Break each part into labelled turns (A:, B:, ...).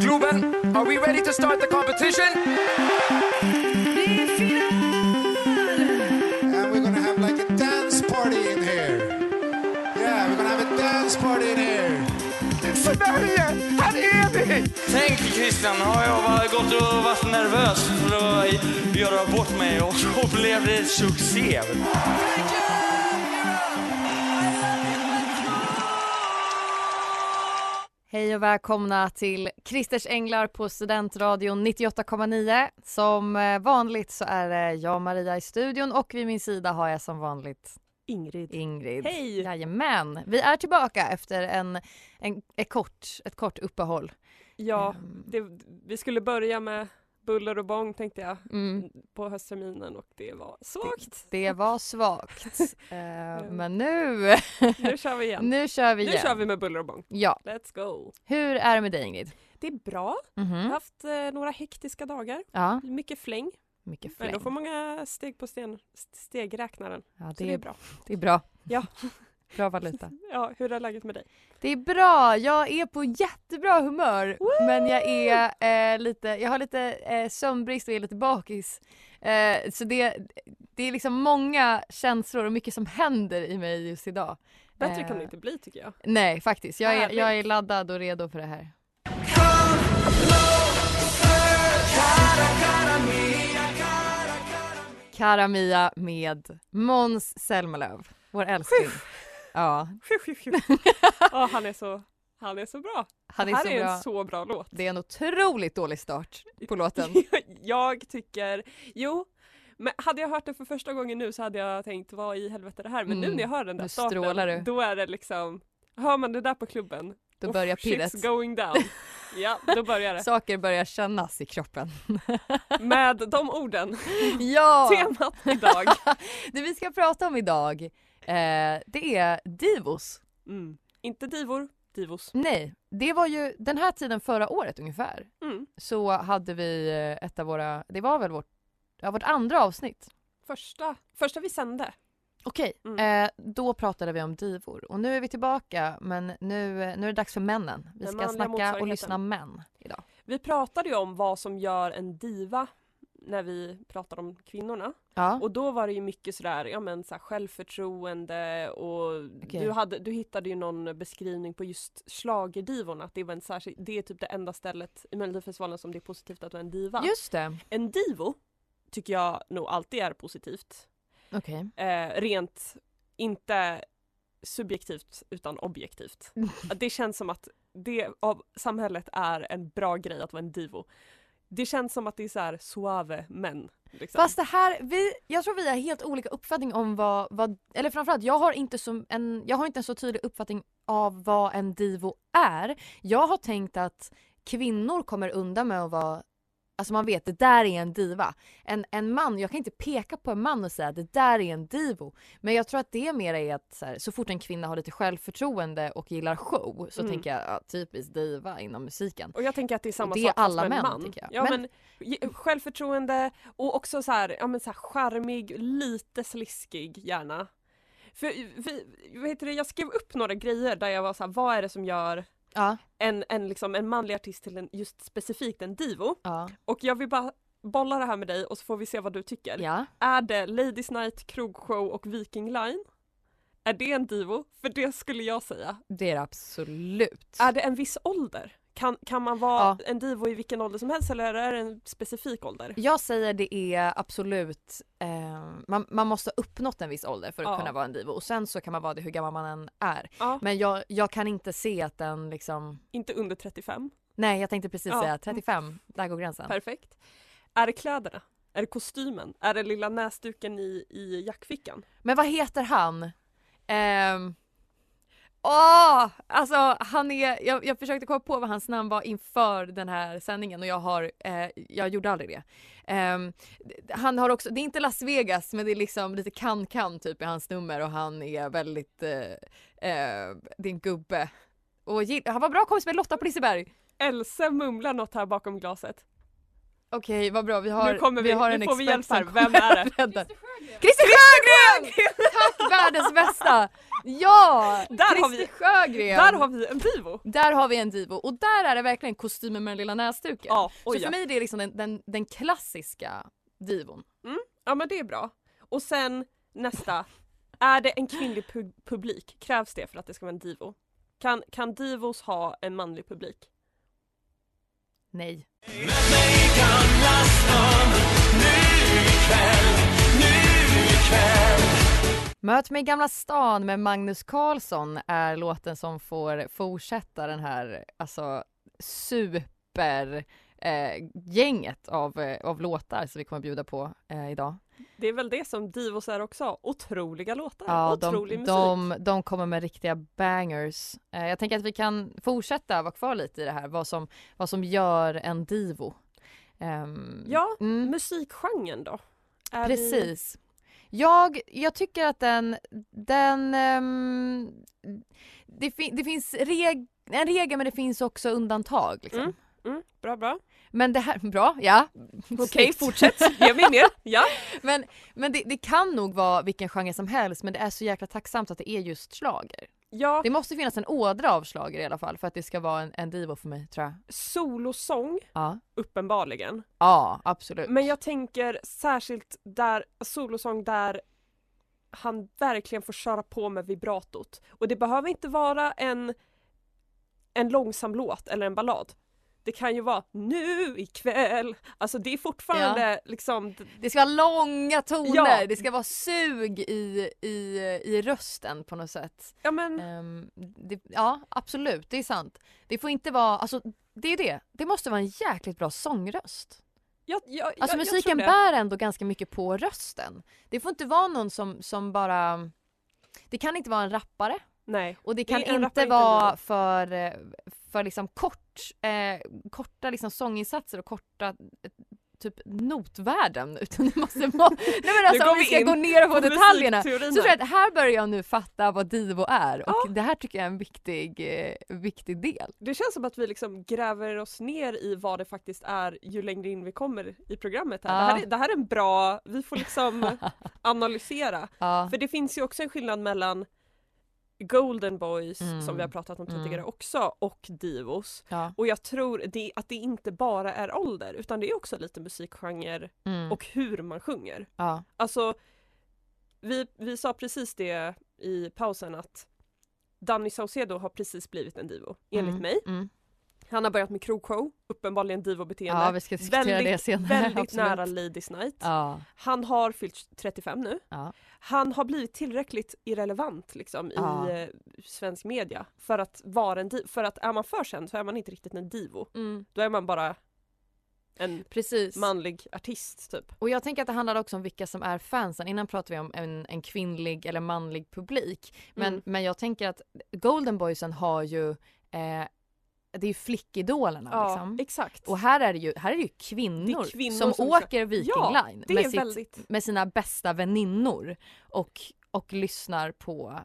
A: Ruben, are we ready to start the competition?
B: And we're gonna have like a dance party in here. Yeah, we're gonna have a dance party in here.
A: För Sverige! Här är vi!
C: Tänk Christian, har jag varit- gått och varit nervös för att göra bort mig och så blev det succé.
D: Hej och välkomna till Christers Änglar på Studentradion 98,9. Som eh, vanligt så är det jag Maria i studion och vid min sida har jag som vanligt
E: Ingrid.
D: Ingrid.
E: Hej!
D: Jajamän! Vi är tillbaka efter en, en, ett, kort, ett kort uppehåll.
E: Ja,
D: Ehm,
E: det, vi skulle börja med buller och bång tänkte jag
D: Mm.
E: på höstterminen och det var svagt.
D: Det var svagt. Eh, men nu,
E: Nu kör vi igen.
D: nu kör vi
E: Nu
D: igen.
E: kör vi med buller och bång.
D: Ja.
E: Let's go. Mm.
D: Hur är det med dig Ingrid?
E: Det är bra. Jag har
D: Mhm.
E: haft eh, några hektiska dagar.
D: Ja,
E: Mycket fläng.
D: mycket
E: Men
D: fläng.
E: då får många steg på sten, st- stegräknaren.
D: Ja,
E: Så det är bra.
D: Det är bra.
E: Ja.
D: Bra valuta.
E: Ja, hur är läget med dig?
D: Det är bra, jag är på jättebra humör men jag är eh, lite, jag har lite eh, sömnbrist och är lite bakis. Eh, så det, det är liksom många känslor och mycket som händer i mig just idag.
E: Bättre
D: Eh,
E: kan det inte bli tycker jag.
D: Nej faktiskt, jag är,
E: Härligt.
D: jag är laddad och redo för det här. Cara Mia med Måns Zelmerlöw, vår älskling. Ja,
E: Ja, han är så, han är så bra.
D: han är
E: det här
D: så
E: är
D: bra.
E: en så bra låt.
D: Det är en otroligt dålig start på låten.
E: jag tycker, jo, men hade jag hört den för första gången nu så hade jag tänkt vad i helvete är det här? Men nu
D: Mm,
E: när jag hör den där
D: nu strålar du.
E: starten, då är det liksom, hör man det där på klubben,
D: Då
E: "Uff,
D: börjar pirret.
E: shit's going down. Ja, då börjar det.
D: Saker börjar kännas i kroppen.
E: Med de orden,
D: Ja!
E: temat idag.
D: Det vi ska prata om idag, eh, det är divos.
E: Mm. Inte divor, divos.
D: Nej, det var ju den här tiden förra året ungefär.
E: Mm.
D: Så hade vi eh, ett av våra, det var väl vårt, ja, vårt andra avsnitt.
E: Första, första vi sände.
D: Okej,
E: Mm.
D: eh, då pratade vi om divor och nu är vi tillbaka men nu, eh, nu är det dags för männen. Vi
E: Den
D: ska
E: manliga
D: snacka och
E: motsvarigheten.
D: lyssna män idag.
E: Vi pratade ju om vad som gör en diva när vi pratar om kvinnorna.
D: Ja,
E: Och då var det ju mycket sådär, ja men så här självförtroende och
D: Okej.
E: du, hade, du hittade ju någon beskrivning på just schlagerdivorna. Att det, var en särskild, det är typ det enda stället i Melodifestivalen som det är positivt att du är en diva.
D: just det.
E: En divo tycker jag nog alltid är positivt.
D: Okej.
E: Eh, rent, inte subjektivt utan objektivt. Att Det känns som att det av samhället är en bra grej att vara en divo. Det känns som att det är så här suave män. Liksom.
D: Fast det här, vi, jag tror vi har helt olika uppfattning om vad, vad eller framförallt jag har inte som en, jag har inte en så tydlig uppfattning av vad en divo är. Jag har tänkt att kvinnor kommer undan med att vara, alltså man vet det där är en diva. En, en man, jag kan inte peka på en man och säga det där är en divo. Men jag tror att det mer är att så, här, så fort en kvinna har lite självförtroende och gillar show så
E: Mm.
D: tänker jag ja, typiskt diva inom musiken.
E: Och jag tänker att det är samma
D: Det är
E: sak fast
D: alla
E: med en
D: män,
E: man.
D: tycker jag.
E: Ja,
D: Men-
E: men... ge- självförtroende och också så här, ja, men så här charmig, lite sliskig gärna. För, vi, vad heter det, jag skrev upp några grejer där jag var så här, vad är det som gör
D: Ja,
E: en, en, liksom, en manlig artist till en, just specifikt en divo?
D: ja,
E: Och jag vill bara bolla det här med dig och så får vi se vad du tycker.
D: ja.
E: Är det Ladies Night, Krogshow och Viking Line? Är det en divo? För det skulle jag säga.
D: Det är det absolut.
E: Är det en viss ålder? Kan, kan man vara
D: Ja.
E: en divo i vilken ålder som helst eller är det en specifik ålder?
D: Jag säger det är absolut, eh, man, man måste ha uppnått en viss ålder för att
E: Ja.
D: kunna vara en divo och sen så kan man vara det hur gammal man än är.
E: Ja.
D: Men jag, jag kan inte se att den liksom,
E: Inte under 35.
D: nej jag tänkte precis
E: Ja.
D: säga 35, där går gränsen.
E: Perfekt. Är det kläderna? Är det kostymen? Är det lilla näsduken i, i jackfickan?
D: Men vad heter han? Ehm, Åh! alltså han är, jag, jag försökte komma på vad hans namn var inför den här sändningen och jag har, eh, jag gjorde aldrig det. Ehm, d- han har också, det är inte Las Vegas men det är liksom lite kan-kan typ i hans nummer och han är väldigt, eh, eh, det är en gubbe. Och gill- han var bra kompis med Lotta på Liseberg.
E: Else mumlar något här bakom glaset.
D: Okej, vad bra. Vi har,
E: nu kommer vi,
D: vi har en
E: nu får vi
D: expert
E: hjälp här.
D: som
E: Vem är det?
D: räddar. Christer Sjögren! Tack världens bästa! Ja!
E: Där har vi-
D: Christer Sjögren!
E: Där har vi en divo!
D: Där har vi en divo och där är det verkligen kostymen med den lilla näsduken.
E: Ja,
D: Så
E: oj
D: för
E: ja.
D: mig är det liksom den, den, den klassiska divon.
E: ja men det är bra. Och sen nästa. Är det en kvinnlig pu- publik? Krävs det för att det ska vara en divo? Kan, kan divos ha en manlig publik?
D: Nej. Möt mig i Gamla stan med Magnus Carlsson är låten som får fortsätta den här alltså super eh, gänget av, eh, av låtar som vi kommer bjuda på eh, idag.
E: Det är väl det som divos är också. Otroliga låtar,
D: de,
E: otrolig musik.
D: de, de kommer med riktiga bangers. Eh, jag tänker att vi kan fortsätta vara kvar lite i det här, vad som, vad som gör en divo. Ehm,
E: Ja,
D: mm.
E: musikgenren då? Är vi-
D: Precis. Jag, jag tycker att den... den ehm, det, fin- det finns reg en regel men det finns också undantag. Liksom.
E: Mm, bra, bra.
D: Men det här, bra, ja.
E: Okej,
D: Snyggt.
E: fortsätt. Ge mig ner. Ja.
D: Men, men det, det kan nog vara vilken genre som helst men det är så jäkla tacksamt att det är just slager.
E: ja.
D: Det måste finnas en ådra av slager i alla fall för att det ska vara en, en divo för mig tror jag.
E: Solosång,
D: Ja,
E: uppenbarligen.
D: ja absolut.
E: Men jag tänker särskilt där, solosång där han verkligen får köra på med vibratot. Och det behöver inte vara en, en långsam låt eller en ballad. Det kan ju vara nu ikväll, alltså det är fortfarande liksom,
D: Det ska vara långa toner,
E: Ja.
D: det ska vara sug i, i, i rösten på något sätt.
E: ja men
D: Ehm, det, ja, absolut. Det är sant. Det får inte vara... Alltså, det är det. Det måste vara en jäkligt bra sångröst.
E: jag, jag,
D: Alltså
E: jag, jag tror
D: musiken
E: det.
D: bär ändå ganska mycket på rösten. Det får inte vara någon som, som bara... Det kan inte vara en rappare
E: Nej.
D: och det
E: Det är
D: kan
E: en rappare
D: inte
E: inte
D: vara
E: Lilo.
D: för, eh, för liksom kort, eh, korta liksom sånginsatser och korta eh, typ notvärden utan det måste vara... Nej men alltså
E: går
D: om vi
E: vi
D: ska
E: in
D: gå ner på detaljerna
E: Musikteorin
D: så tror
E: här.
D: jag att här börjar jag nu fatta vad divo är och det här tycker jag är en viktig, eh, viktig del.
E: Det känns som att vi liksom gräver oss ner i vad det faktiskt är ju längre in vi kommer i programmet. Här. Det,
D: Ja.
E: här är, det här är en bra, vi får liksom analysera.
D: Ja,
E: För det finns ju också en skillnad mellan Golden Boys
D: Mm.
E: som vi har pratat om
D: Mm.
E: tidigare också och Divos.
D: ja.
E: Och jag tror det, att det inte bara är ålder utan det är också lite musikgenre
D: Mm,
E: och hur man sjunger.
D: ja.
E: Alltså, vi, vi sa precis det i pausen att Danny Saucedo har precis blivit en divo, enligt
D: Mm,
E: mig.
D: Mm.
E: Han har börjat med krogshow, uppenbarligen divo-beteende.
D: Ja, vi ska diskutera
E: Väldigt-
D: det senare.
E: Väldigt
D: absolut.
E: nära Ladies Night.
D: Ja,
E: Han har fyllt 35 nu.
D: Ja.
E: Han har blivit tillräckligt irrelevant liksom,
D: Ja.
E: i eh, svensk media för att vara en divo. För att är man för känd så är man inte riktigt en divo.
D: mm,
E: Då är man bara en
D: precis.
E: manlig artist typ.
D: Och jag tänker att det handlar också om vilka som är fansen. Innan pratade vi om en, en kvinnlig eller manlig publik. Men,
E: Mm.
D: men jag tänker att Golden Boysen har ju, eh, det är ju flickidolerna liksom.
E: exakt.
D: Och här är det ju, här är det ju kvinnor,
E: Det är kvinnor som
D: som,
E: ska-
D: åker Viking
E: Ja,
D: Line
E: det är
D: med, sitt,
E: väldigt...
D: med sina bästa väninnor och, och lyssnar på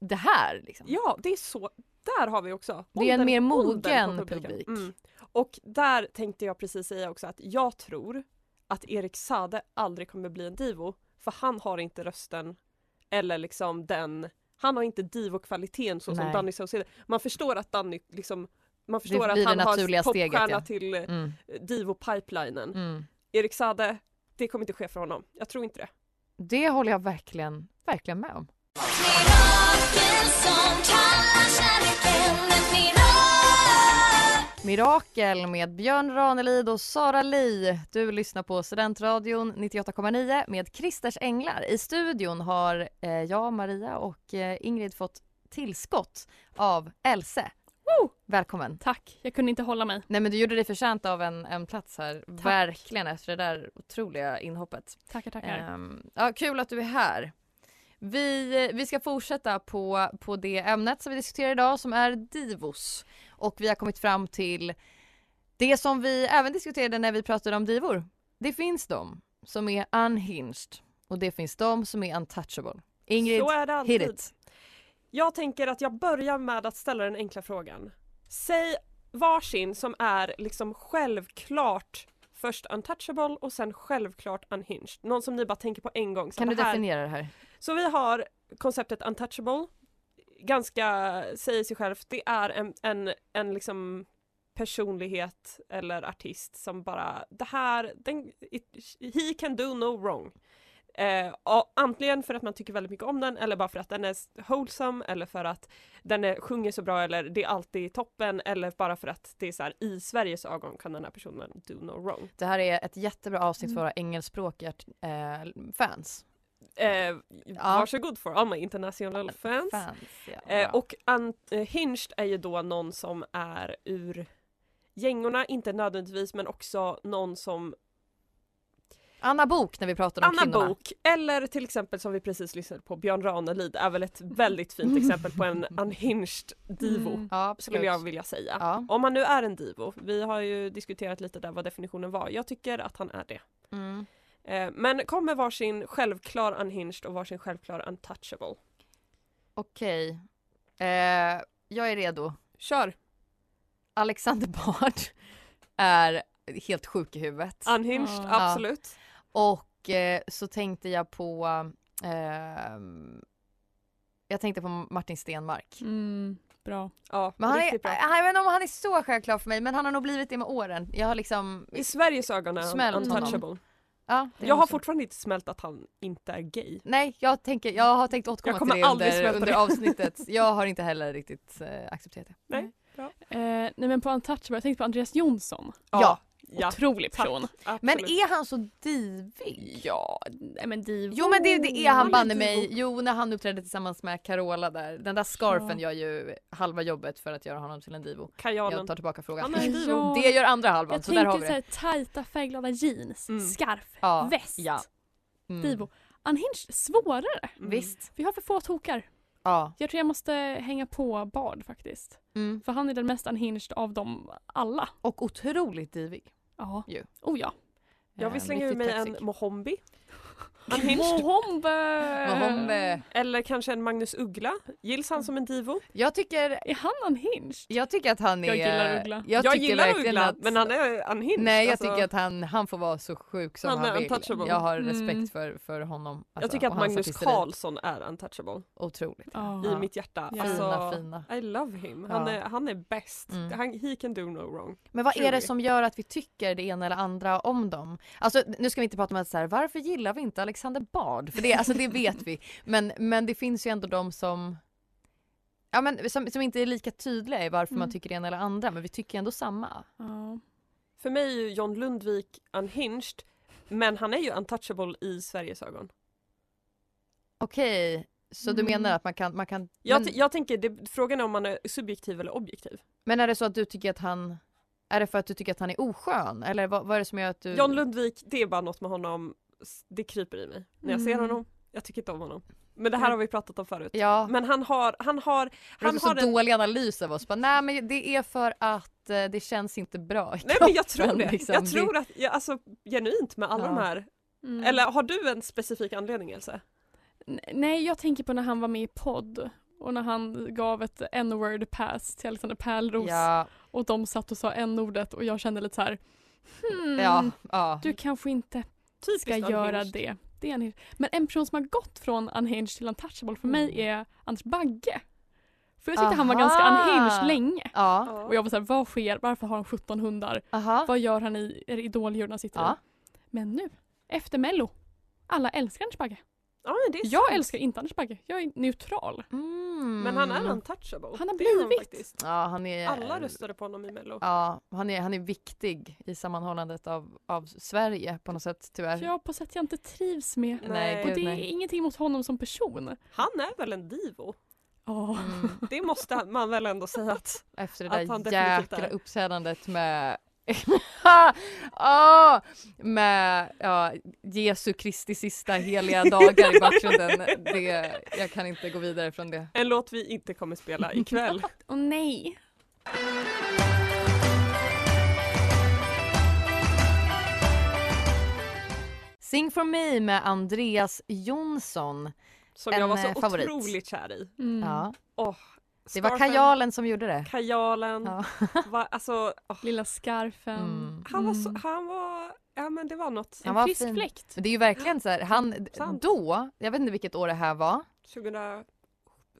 D: det här liksom.
E: Ja, det är så. Där har vi också.
D: Det är en
E: åldern-
D: mer
E: åldern
D: mogen
E: på publiken.
D: publik.
E: Mm. Och där tänkte jag precis säga också att jag tror att Erik Sade aldrig kommer bli en divo för han har inte rösten eller liksom den, han har inte divokvaliteten så
D: Nej.
E: som Danny Saucedo. Man förstår att Danny liksom, man förstår
D: blir
E: att
D: det
E: han
D: naturliga
E: har
D: steget,
E: popstjärna
D: ja.
E: till eh,
D: Mm,
E: divo-pipelinen.
D: mm.
E: Erik Sade, det kommer inte ske för honom. Jag tror inte det.
D: Det håller jag verkligen, verkligen med om.
F: Mirakel som kallar kärleken ett mirakel
D: Mirakel med Björn Ranelid och Sara Li. Du lyssnar på Studentradion 98,9 med Christers Änglar. I studion har eh, jag, Maria och eh, Ingrid fått tillskott av Else. Välkommen!
G: Tack, jag kunde inte hålla mig.
D: Nej men du gjorde dig förtjänt av en, en plats här, verkligen efter det där otroliga inhoppet.
G: Tackar, tackar.
D: Ehm, ja, kul att du är här. Vi, vi ska fortsätta på, på det ämnet som vi diskuterar idag som är divos. Och vi har kommit fram till det som vi även diskuterade när vi pratade om divor. Det finns de som är unhinged och det finns de som är untouchable. Ingrid,
E: så är det alltid.
D: hit it.
E: Jag tänker att jag börjar med att ställa den enkla frågan. Säg varsin som är liksom självklart Först untouchable och sen självklart unhinged. Någon som ni bara tänker på en gång. så
D: Kan
E: det
D: du
E: här-
D: definiera det här?
E: så vi har konceptet untouchable. Ganska, säger sig självt, det är en, en, en liksom personlighet eller artist som bara, det här, den, it, he can do no wrong. Eh, och antingen för att man tycker väldigt mycket om den eller bara för att den är s- wholesome eller för att den är, sjunger så bra eller det är alltid toppen eller bara för att det är så här i Sveriges ögon kan den här personen do no wrong.
D: Det här är ett jättebra avsnitt
E: Mm.
D: för våra engelspråkiga eh, fans.
E: Eh, Varsågod for all my international fans.
D: Fans, ja.
E: Eh,
D: bra.
E: och un- eh, hinged är ju då någon som är ur gängorna, inte nödvändigtvis men också någon som
D: Anna Bok när vi pratade om
E: Anna
D: kvinnorna.
E: Bok eller till exempel som vi precis lyssnade på Björn Ranelid är väl ett väldigt fint exempel på en unhinged divo
D: Ja, Mm. absolut.
E: skulle jag vilja säga.
D: Ja.
E: Om han nu är en divo, vi har ju diskuterat lite där vad definitionen var, jag tycker att han är det.
D: Mm.
E: Eh, men kom med varsin självklar unhinged och varsin självklar untouchable.
D: Okej. Eh, jag är redo.
E: Kör!
D: Alexander Bard är helt sjuk i huvudet.
E: Unhinged,
D: Ja.
E: absolut.
D: Och eh, så tänkte jag på... ehm, jag tänkte på Martin Stenmark.
G: Mm, bra.
E: Ja,
D: Men han är,
E: riktigt bra.
D: jag vet inte om han är så självklar för mig men han har nog blivit det med åren. Jag har liksom...
E: I Sveriges ögon är
D: Smält
E: han
D: honom.
E: untouchable.
D: Ja, det är liksom-
E: Jag har
D: nog så.
E: fortfarande inte smält att han inte är gay.
D: Nej, jag, tänker, jag har tänkt återkomma
E: kommer
D: till det
E: aldrig
D: under,
E: smälta
D: under
E: det.
D: avsnittet. Jag har inte heller riktigt eh, accepterat det.
G: Eh, nej men på untouchable, jag tänkte på Andreas Jonsson.
D: Ja,
E: ja
G: Otrolig
E: tack.
G: person.
E: absolut.
D: Men är han så divig?
G: Ja, nej men divo.
D: Jo men det, det är han
E: är
D: banne
E: divo.
D: mig. Jo när han uppträdde tillsammans med Carola där. Den där scarfen gör ju halva jobbet för att göra honom till en divo.
E: Kajanen.
D: Jag tar tillbaka frågan.
E: Han är en divo.
G: Ja.
D: Det gör andra halvan
G: Jag
D: så där har
G: tänkte
D: vi
G: så
D: det.
G: här, tajta färgglada jeans,
E: Mm.
G: skarf,
D: Ja,
G: väst,
D: ja. Mm.
G: divo. Unhinged, svårare.
E: Mm.
D: Visst.
G: Vi har för få tokar.
D: Ja.
G: Jag tror jag måste hänga på Bard faktiskt.
D: Mm.
G: För han är den mest unhinged av dem alla.
D: Och otroligt divig.
G: Ja.
D: Jo.
G: Oh ja.
E: Jag vill
D: Eh,
E: slänga ur
D: riktigt
E: mig en
D: kaxig.
E: Mohombi. Unhinged.
G: Mohombe!
D: Mohombe.
E: Eller kanske en Magnus Uggla. Gills han som en divo?
D: Jag tycker,
G: Är han unhinged?
D: jag tycker att han är...
G: Jag gillar Uggla.
D: Jag,
E: Jag
D: tycker
E: gillar
D: verkligen
E: Uggla
D: att...
E: men han är unhinged.
D: Nej jag
E: alltså.
D: tycker att han, han får vara så sjuk som
E: Han
D: han,
E: är
D: vill.
E: untouchable.
D: Jag har respekt
G: Mm.
D: för, för honom.
E: jag
D: alltså,
E: tycker att
D: och hans
E: Magnus
D: artisteri.
E: Karlsson är untouchable
D: Otroligt.
G: Ja.
E: i mitt hjärta.
G: Ja.
E: Alltså,
D: Fina fina.
E: I love him. Han
D: Ja.
E: är, han är bäst.
D: Mm.
E: Han, he can do no wrong.
D: Men vad är det
E: Truly.
D: som gör att vi tycker det ena eller andra om dem? Alltså nu ska vi inte prata om att så här, varför gillar vi inte Alexander Bard? För det, alltså, det vet vi. Men, men det finns ju ändå de som Ja men som, som inte är lika tydliga i varför man
G: Mm.
D: tycker det ena eller andra men vi tycker ändå samma.
G: Ja.
E: För mig är ju John Lundvik unhinged men han är ju untouchable i Sveriges ögon.
D: Okej, så du
G: Mm.
D: menar att man kan, man kan
E: Jag,
D: men,
E: t- jag tänker, det, frågan är om man är subjektiv eller objektiv.
D: men är det så att du tycker att han Är det för att du tycker att han är oskön eller vad, vad är det som gör att du
E: John Lundvik, det är bara något med honom, s- det kryper i mig när jag ser
G: Mm.
E: honom. Jag tycker inte om honom. Men det här har vi pratat om förut.
D: Ja,
E: Men han har, han har,
D: det låter
E: han
D: så
E: har en,
D: dålig analys av oss. Bara, Nej men det är för att eh, det känns inte bra i
E: Nej men jag tror
D: kroppen,
E: det.
D: liksom.
E: Jag tror att, jag, alltså genuint med alla
D: Ja.
E: de här.
G: Mm.
E: Eller har du en specifik anledning Else?
G: N- Nej, jag tänker på när han var med i podd och när han gav ett n-word pass till Alexander Pärlros
D: Ja,
G: och de satt och sa n-ordet och jag kände lite så här hmm,
D: ja, ja.
G: du kanske inte
E: Typiskt
G: ska
E: unhinged.
G: göra det. det är unhinged. Men en person som har gått från unhinged till untouchable för
E: Mm.
G: mig är Anders Bagge. För jag tyckte han var
D: Aha.
G: ganska unhinged länge.
D: Ja,
E: Ja.
G: Och jag var så här, vad sker? Varför har han 17 hundar?
E: Ah.
D: aha.
G: Vad gör han i är det idoljuryn han sitter
D: Ja.
G: i? Men nu, efter mello, alla älskar Anders Bagge.
E: Ja, men det är
G: Jag
E: sant.
G: älskar inte Anders Bagge, jag är neutral.
D: Mm.
E: Men han är untouchable.
G: Han har
E: Det är
G: blivit.
E: faktiskt.
D: Ja, han är...
E: Alla röstade på honom i mello.
D: Ja, han är, han är viktig i sammanhållandet av, av Sverige på något sätt tyvärr.
G: Ja, på sätt jag inte trivs med.
D: Nej,
G: Och
D: gud
G: det är
D: nej.
G: ingenting mot honom som person.
E: Han är väl en divo?
G: Ja,
D: Mm.
E: Det måste man väl ändå säga att
D: Efter det
E: Att han
D: där
E: definitivt
D: jäkla
E: är.
D: uppträdandet med Ah, med ja, Jesu Kristi sista heliga dagar i bakgrunden. Det, jag kan inte gå vidare från det.
E: En låt vi inte kommer spela ikväll.
G: och nej.
D: Sing for me med Andreas Jonsson.
E: Som
D: En,
E: jag var så
D: eh, favorit.
E: otroligt kär i.
G: Mm.
D: Ja.
E: Åh,
D: Det var
E: Scarfen,
D: kajalen som gjorde det.
E: Kajalen.
D: Ja.
E: Va, alltså, åh,
G: Lilla scarfen.
D: Mm.
E: han, var så, han var, ja men det var något.
D: Han
G: En
D: var
G: frisk
D: fin.
G: fläkt.
D: Men det är ju verkligen så här, han
E: Sant.
D: då, jag vet inte vilket år det här var,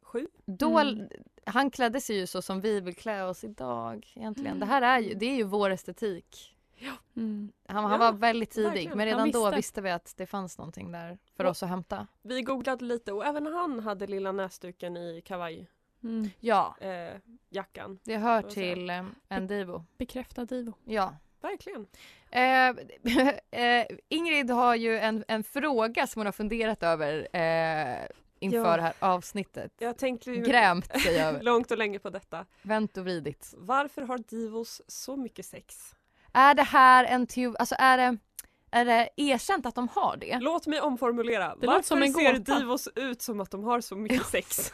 E: 2007?
D: då,
G: Mm.
D: han klädde sig ju så som vi vill klä oss idag egentligen. Det här är ju, det är ju vår estetik.
G: Mm.
D: Han, han
E: Mm. Ja,
D: var väldigt tidig
E: verkligen.
D: men redan
G: Han
D: då
G: visste.
D: visste vi att det fanns någonting där för
E: Ja.
D: oss att hämta.
E: Vi googlade lite och även han hade lilla näsduken i kavajjackan.
G: Mm.
D: Ja,
E: Eh, jackan.
D: det hör
E: Får jag säga.
D: till eh, Endivo.
G: Bekräfta Divo.
D: Ja.
E: Verkligen.
D: Eh, eh, Ingrid har ju en, en fråga som hon har funderat över eh, inför
E: Ja.
D: det här avsnittet.
E: Jag tänkte ju
D: Grämt sig över.
E: långt och länge på detta.
D: Vänt och vridit.
E: Varför har divos så mycket sex?
D: Är det här en teo... Alltså är det, är det erkänt att de har det?
E: Låt mig omformulera. Varför
G: Det låter som en
E: ser
G: gåta.
E: divos ut som att de har så mycket sex?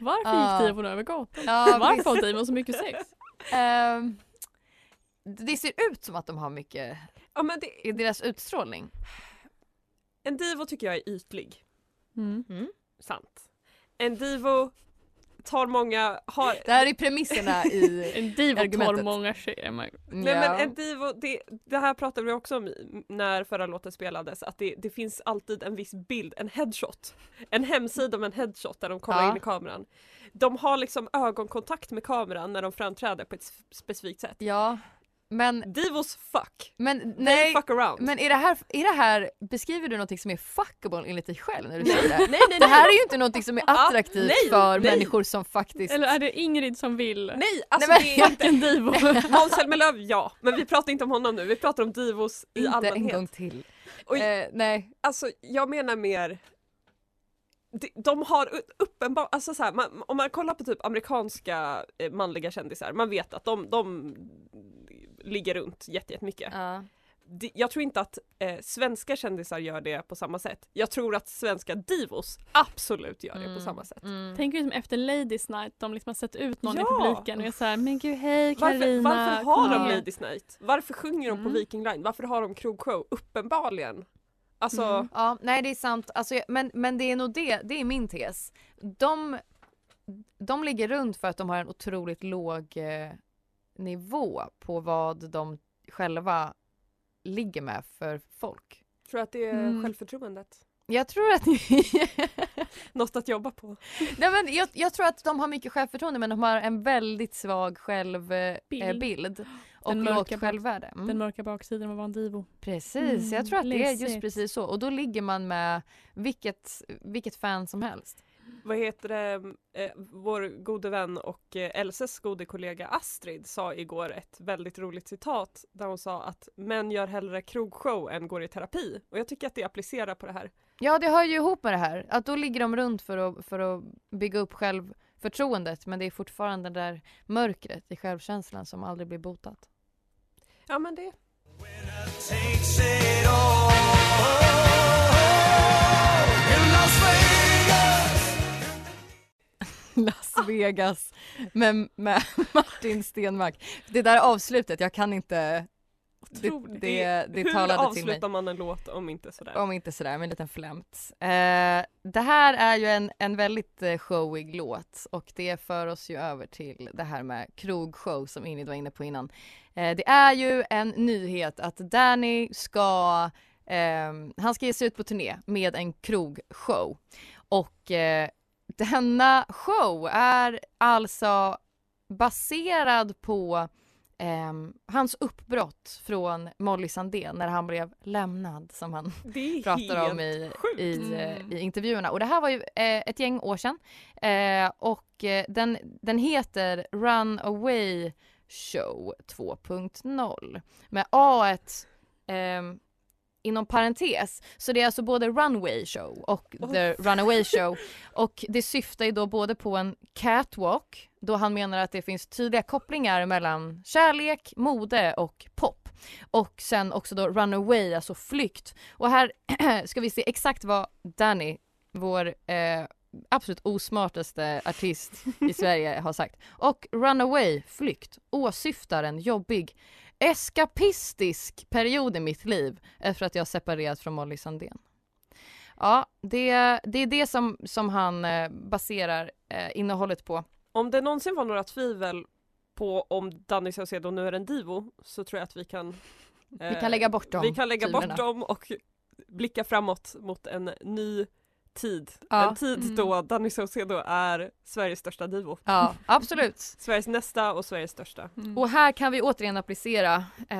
G: Varför
D: Ah.
G: gick Divo över gatan?
D: Ja,
G: Varför har Divo så mycket sex?
D: ehm, det ser ut som att de har mycket
E: ja, men det,
D: i deras utstrålning.
E: en divo tycker jag är ytlig.
G: Mm.
E: Sant. En divo tar många, har...
D: Det här är premisserna i...
G: En Divo
D: Argumentet.
G: tar många tjejer. man-
E: Nej
D: Ja.
E: men en divo, det, det här pratade vi också om i- när förra låten spelades, att det, det finns alltid en viss bild, en headshot. En hemsida med en headshot där de kollar
D: Ja.
E: in i kameran. De har liksom ögonkontakt med kameran när de framträder på ett s- specifikt sätt.
D: Ja. Men,
E: Divos fuck!
D: men
E: Nej.
D: nej.
E: Fuck around!
D: Men är det, här, är det här, beskriver du någonting som är fuckable enligt dig själv när du säger det?
E: nej nej
D: Det
E: nej!
D: här är ju inte någonting som är
E: Ja,
D: attraktivt
E: nej,
D: för
E: nej.
D: människor som faktiskt...
G: Eller är det Ingrid som vill? Mm.
E: Nej, alltså
D: Nej,
E: det
D: men-
E: är inte...
G: Vilken Divo?
E: Måns Zelmerlöw, ja. Men vi pratar inte om honom nu, vi pratar om divos i
D: inte en
E: allmänhet.
D: gång till.
E: Och-
D: eh, nej.
E: Alltså jag menar mer de- de har uppenbart, alltså så här, man, om man kollar på typ amerikanska eh, manliga kändisar, man vet att de, de ligger runt jätte- jättemycket.
D: Ja.
E: De- Jag tror inte att eh, svenska kändisar gör det på samma sätt. Jag tror att svenska divos absolut gör det
D: Mm,
E: på samma sätt.
G: Tänker du som efter Ladies Night, de liksom har sett ut någon i
E: Ja.
G: publiken och är såhär, men gud hej
E: Varför,
G: Carolina.
E: varför har
G: kom
E: de
G: igen."
E: Ladies Night? Varför sjunger de på
D: Mm.
E: Viking Line? Varför har de krogshow? Uppenbarligen. Alltså,
G: Mm.
D: Ja, nej det är sant. Alltså, jag- men, men det är nog det, det är min tes. De, de ligger runt för att de har en otroligt låg eh, nivå på vad de själva ligger med för folk.
E: tror jag att det är
G: Mm.
E: självförtroendet.
D: Jag tror att ni...
E: Något att jobba på.
D: nej, men jag, jag tror att de har mycket självförtroende men de har en väldigt svag självbild eh,
G: Bild.
D: bild och
G: Den mörka
D: lågt
G: bild.
D: självvärde. Mm.
G: Den mörka baksidan av att vara en divo.
D: Precis, jag
G: Mm,
D: tror att det är just
G: läskigt.
D: precis så. Och då ligger man med vilket, vilket fan som helst.
E: vad heter det, eh, vår gode vän och eh, Elses gode kollega Astrid sa igår ett väldigt roligt citat där hon sa att män gör hellre krogshow än går i terapi och jag tycker att det applicerar på det här.
D: Ja, det hör ju ihop med det här. Att då ligger de runt för att, för att bygga upp självförtroendet men det är fortfarande det där mörkret i självkänslan som aldrig blir botat.
E: Ja men det,
D: Las Vegas med, med Martin Stenmark. Det där avslutet, jag kan inte... Det,
G: Otroligt.
D: det, det
E: hur
D: talade till mig.
E: avslutar man en låt om inte sådär?
D: Om inte sådär, med en liten flämt. Eh, det här är ju en, en väldigt eh, showig låt och det för oss ju över till det här med krogshow som Ingrid var inne på innan. Eh, det är ju en nyhet att Danny ska, ehm, han ska ge sig ut på turné med en krogshow. Och eh, denna show är alltså baserad på ehm, hans uppbrott från Molly Sandén när han blev lämnad som han
E: det är
D: pratar
E: helt...
D: om i,
E: sjukt.
D: i, eh,
G: Mm.
D: i intervjuerna. Och det här var ju eh, ett gäng år sedan. Eh, och eh, den, den heter Runaway Show 2.0 med A ehm, inom parentes. Så det är alltså både Runway Show och The Runaway Show. Och det syftar ju då både på en catwalk då han menar att det finns tydliga kopplingar mellan kärlek, mode och pop. Och sen också då runaway, alltså flykt. Och här ska vi se exakt vad Danny, vår eh, absolut osmartaste artist i Sverige, har sagt. Och runaway, flykt, åsyftar en jobbig eskapistisk period i mitt liv efter att jag separerat från Molly Sandén. Ja, det, det är det som, som han eh, baserar eh, innehållet på.
E: Om det någonsin var några tvivel på om Danny Saucedo nu är en divo så tror jag att vi kan eh,
D: Vi kan lägga bort dem.
E: Vi kan lägga
D: tvivelna.
E: bort dem och blicka framåt mot en ny tid.
D: Ja. Mm.
E: En tid då Danny Saucedo är Sveriges största divo.
D: Ja, absolut.
E: Sveriges nästa och Sveriges största.
G: Mm.
D: Och här kan vi återigen applicera eh,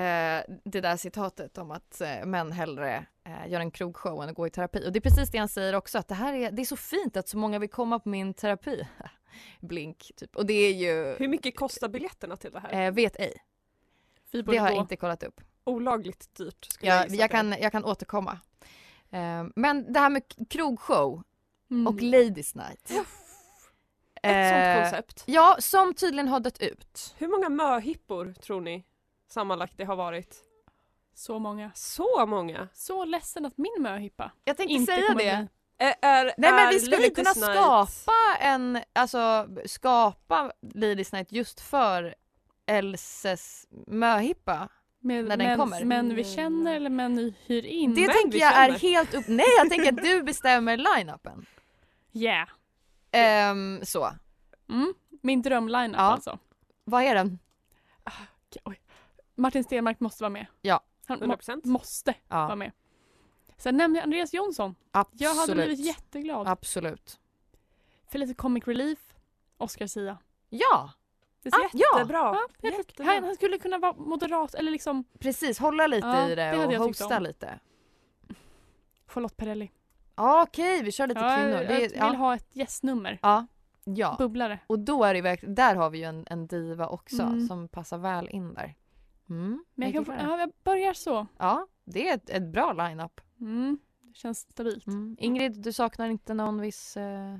D: det där citatet om att eh, män hellre eh, gör en krogshow än att gå i terapi. Och det är precis det han säger också, att det här är, det är så fint att så många vill komma på min terapi. Blink, typ. Och det är ju,
E: Hur mycket kostar biljetterna till det här?
D: eh, vet ej,
G: Vi
D: det
G: borde
D: har jag
G: gå.
D: inte kollat upp.
E: Olagligt dyrt skulle jag
D: Jag,
E: gissa
D: jag,
E: på.
D: kan, jag kan återkomma. Eh, men det här med k- krogshow
G: Mm.
D: och ladies night.
E: Ett sånt
D: Eh,
E: koncept.
D: Ja, som tydligen har dött ut.
E: Hur många möhippor tror ni sammanlagt det har varit?
G: Så många.
E: Så många!
G: Så ledsen att min möhippa
D: Jag tänkte
G: inte
D: säga
G: kommer
D: det.
G: bli-
E: Är, är,
D: Nej men
E: är
D: vi skulle
E: Ladies
D: kunna
E: Night-
D: skapa en, alltså skapa Ladies Night just för Elses möhippa.
G: Med
D: när den
G: män,
D: kommer. Mm.
G: män vi känner eller män vi hyr in.
D: Det
E: Men
D: tänker
E: vi
D: jag är
E: känner.
D: helt upp, nej jag tänker att du bestämmer line-upen.
G: Yeah.
D: Ehm, så,
G: Mm. Min drömline
D: Ja.
G: alltså.
D: vad är den?
G: Okej, Oj. Martin Stenmark måste vara med.
D: Ja.
G: Han må-
E: 100%.
G: måste vara
D: Ja,
G: med. Sen nämnde jag Andreas Jonsson.
D: absolut.
G: Jag hade blivit jätteglad.
D: Absolut.
G: För lite comic relief. Oscar Sia.
D: Ja,
G: Det
D: Ah, ja.
E: Jättebra!
G: Ja, jag fick-
E: jättebra.
G: han, han skulle kunna vara moderat eller liksom
D: precis hålla lite
G: Ja,
D: i
G: det
D: det,
G: hade jag
D: och
G: tyckt
D: hosta
G: om.
D: lite.
G: Charlotte Perrelli.
D: Ja, Okej, vi kör lite
G: Ja,
D: kvinnor.
G: jag, jag
D: Det,
G: vill
D: ja.
G: ha ett gästnummer.
D: ja. ja,
G: Bubblare.
D: och då är det verkligen, där har vi ju en, en diva också
G: Mm. som
D: som passar väl in där. Mm,
G: Men jag, kan, ja, jag börjar så.
D: Ja, det är ett, ett bra line-up.
G: Mm. Det känns stabilt.
D: Mm. Ingrid, du saknar inte någon viss eh,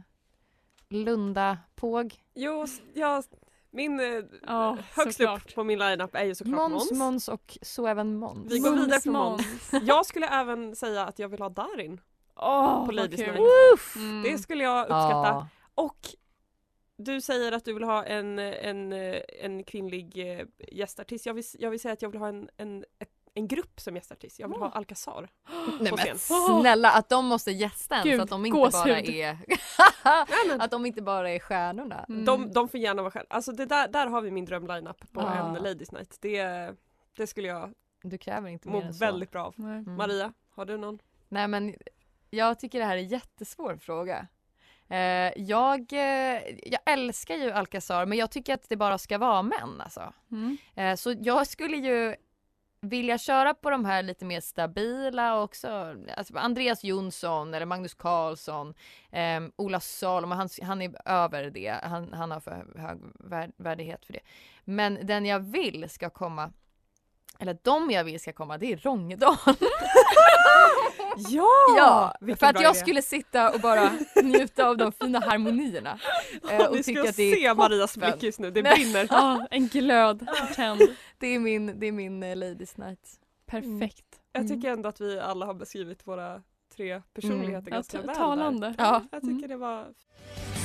D: Lunda-påg?
E: Jo, s- ja, min eh,
G: Ja,
E: högst
G: såklart.
E: upp på min lineup är ju såklart
D: Måns,
E: Måns.
D: Måns och så även Måns.
E: Vi går
G: Mums,
E: vidare på
G: Måns.
E: Jag skulle även säga att jag vill ha Darin.
G: Åh,
E: På
G: vad
E: Ladies
G: kul.
E: Night.
D: Uff!
G: Mm.
E: Det skulle jag uppskatta.
D: Ja.
E: Och du säger att du vill ha en, en, en kvinnlig eh, gästartist. Jag vill, jag vill säga att jag vill ha en, en, ett- en grupp som gästartist. Jag vill ha Alcazar.
D: Nej
E: på
D: men
G: scen.
D: snälla, att de måste gästa en
G: Gud,
D: så att de inte
G: gåshud.
D: bara är... att de inte bara är stjärnorna.
G: Mm.
E: De, de får gärna vara själv. Alltså det där, där har vi min drömlineup på
D: Ja.
E: en Ladies Night. Det, det skulle jag
D: Du kräver inte
E: må
D: mer än så.
E: väldigt bra av.
G: Nej.
D: Mm.
E: Maria, har du någon?
D: Nej men jag tycker det här är en jättesvår fråga. Eh, jag, eh, jag älskar ju Alcazar men jag tycker att det bara ska vara män alltså.
G: Mm.
D: Eh, så jag skulle ju vilja köra på de här lite mer stabila också. Alltså Andreas Jonsson eller Magnus Carlsson, eh, Ola Salomo, han, han är över det. Han, han har för hög vär- värdighet för det. Men den jag vill ska komma, eller de jag vill ska komma, det är Rångedal.
E: Ja!
D: Ja,
E: vilken
D: för att
E: bra
D: jag
E: idé.
D: skulle sitta och bara njuta av de fina harmonierna. Eh,
E: Ni ska
D: och tycka att det
E: se
D: är,
E: Marias
D: toppen.
E: blick just nu, det
D: Nej.
E: brinner.
G: Ah, en glöd.
E: Ah.
G: Tänd.
D: det är min, det är min eh, ladies night.
G: Perfekt.
E: Jag tycker
D: Mm.
E: ändå att vi alla har beskrivit våra tre personligheter
G: Ja,
E: ganska
G: ta-
E: väl där.
G: Alltså, talande.
D: Ja.
E: Jag tycker det var...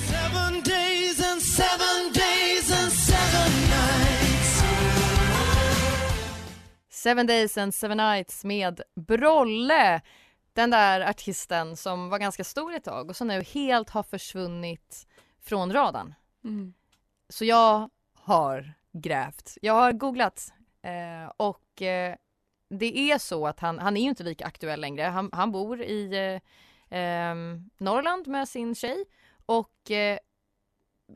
B: Seven days and seven days and seven nights.
D: Seven Days and Seven Nights med Brolle. Den där artisten som var ganska stor ett tag och som nu helt har försvunnit från radarn.
G: Mm.
D: Så jag har grävt. Jag har googlat eh, och eh, det är så att han, han är ju inte lika aktuell längre. Han, han bor i eh, ehm, Norrland med sin tjej och eh,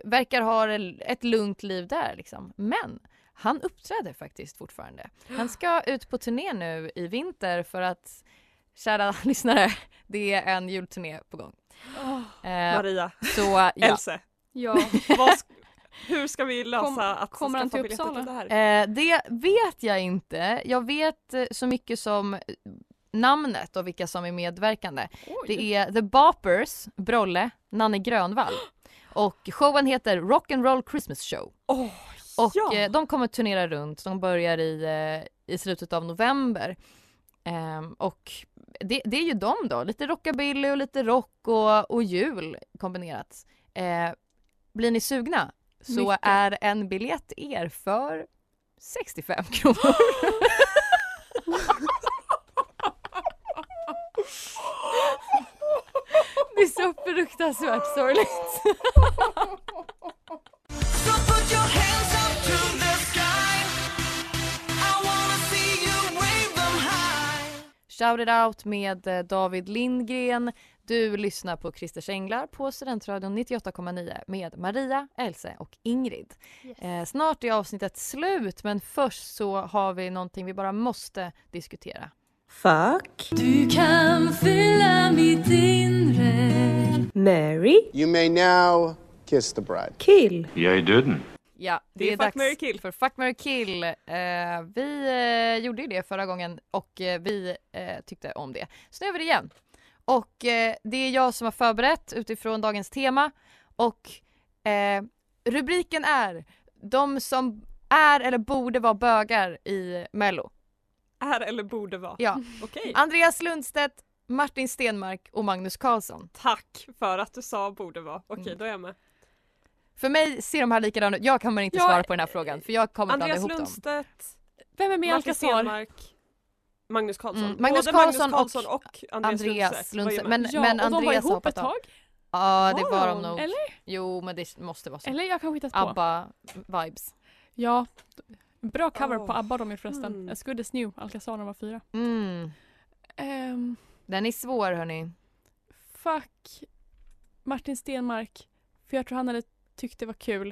D: verkar ha el- ett lugnt liv där liksom. Men han uppträder faktiskt fortfarande. Han ska ut på turné nu i vinter för att Kära lyssnare, det är en julturné på gång.
G: Åh,
D: Eh,
E: Maria,
D: så ja,
E: Else,
G: ja.
E: vad sk- hur ska vi lösa
G: Kom-
E: att
G: kommer han
E: skaffa
G: till
E: biljetter
G: Uppsala?
E: det här?
D: Eh, det vet jag inte. Jag vet eh, så mycket som eh, namnet och vilka som är medverkande. Det är The Boppers, Brolle, Nanne Grönvall. Och showen heter Rock'n'Roll Christmas Show.
E: Åh,
D: Och
E: ja.
D: eh, de kommer turnera runt. De börjar i, eh, i slutet av november. Ehm, och det, det är ju de då. Lite rockabilly och lite rock och, och jul kombinerat. Eh, blir ni sugna så
G: Mycket.
D: är en biljett er för 65 kronor. Det är så fruktansvärt sorgligt.
F: So put your hands up to the sky. I wanna see you wave them high.
D: Shout it out med eh, David Lindgren. Du lyssnar på Christers Änglar på Studentradion 98,9 med Maria, Else och Ingrid. Eh, snart är avsnittet slut men först så har vi någonting vi bara måste diskutera.
H: Fuck,
F: Du kan fylla mitt inre
H: marry,
I: You may now kiss the bride.
H: kill.
D: Ja, det,
E: Det är
D: är
E: Fuck,
D: dags
E: marry, kill.
D: för Fuck, marry, kill. Eh, vi eh, gjorde ju det förra gången och eh, vi eh, tyckte om det. Så nu gör vi det igen. Och eh, det är jag som har förberett utifrån dagens tema och eh, rubriken är De som är eller borde vara bögar i Mello.
E: Är eller borde vara.
D: Ja.
E: Okej.
D: Andreas Lundstedt, Martin Stenmark och Magnus Carlsson.
E: Tack för att du sa borde vara. Okej,
D: Mm.
E: då är jag med.
D: För mig ser de här likadana ut. Jag kommer inte
G: Ja,
D: svara på den här frågan för jag kommer blanda
E: Andreas
D: ihop dem.
E: Lundstedt,
G: Vem är med i
E: Martin
G: Alcazar?
E: Stenmark, Magnus Karlsson.
D: Mm, Magnus
E: Både
D: Karlsson
E: Magnus Karlsson och, Andreas,
D: Andreas Lundstedt.
E: Men...
D: Men,
G: Ja,
D: men
G: och de var
D: Andreas har
G: ihop
D: hoppat
G: ett
D: av.
G: tag.
D: Ja, det
E: Var
D: var de
E: de?
D: nog.
G: Eller?
D: Jo, men det måste vara så.
G: Eller jag kanske hittat på.
D: ABBA-vibes.
G: Ja. Bra cover
E: Oh.
G: på ABBA de är förresten.
E: Mm.
G: As good as new, Alcazar när de var fyra.
D: Mm.
G: Ehm,
D: Den är svår, hörni.
G: fuck Martin Stenmark. För jag tror han hade tyckt det var kul.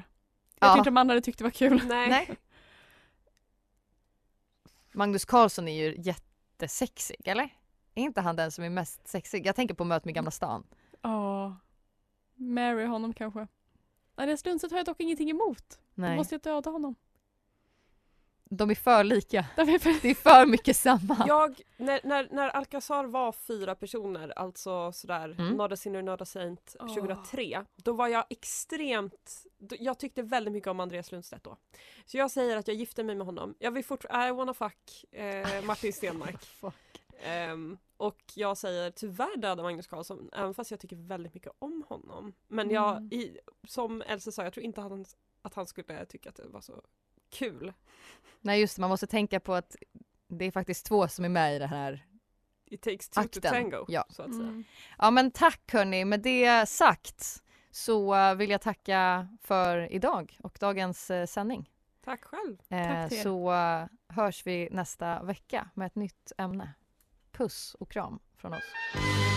G: Jag
D: Ja.
G: tror inte de andra hade tyckt det var kul.
E: Nej.
D: Nej. Magnus Carlsson är ju jättesexig, eller? Är inte han den som är mest sexig? Jag tänker på Möt med Gamla stan.
G: Ja. Marry honom kanske. Andreas Lundstedt har jag dock ingenting emot. Då
D: Nej.
G: måste jag döda honom.
D: De är för lika.
G: Därför är för-
D: Det är för mycket samma.
E: Jag, när, när, när Alcazar var fyra personer, alltså sådär
D: Mm.
E: Nada Sinner Nada Saint
G: Åh.
E: 2003, då var jag extremt, då, jag tyckte väldigt mycket om Andreas Lundstedt då. Så jag säger att jag gifter mig med honom. Jag vill fortfarande, I wanna fuck eh, Martin Stenmark. Ehm, och jag säger tyvärr döda Magnus Karlsson, även fast jag tycker väldigt mycket om honom. Men jag,
G: Mm.
E: i, som Elsa sa, jag tror inte att han, att han skulle tycka att det var så kul
D: Nej, just det. Man måste tänka på att det är faktiskt två som är med i det här
E: It takes two to
D: Akten,
E: tango,
D: ja.
E: så att
G: Mm.
D: Mm.
E: säga.
D: Ja men tack hörni, med det sagt så eh, vill jag tacka för idag och dagens eh, sändning.
E: Tack själv.
D: Eh,
G: till er.
D: så eh, hörs vi nästa vecka med ett nytt ämne. Puss och kram från oss.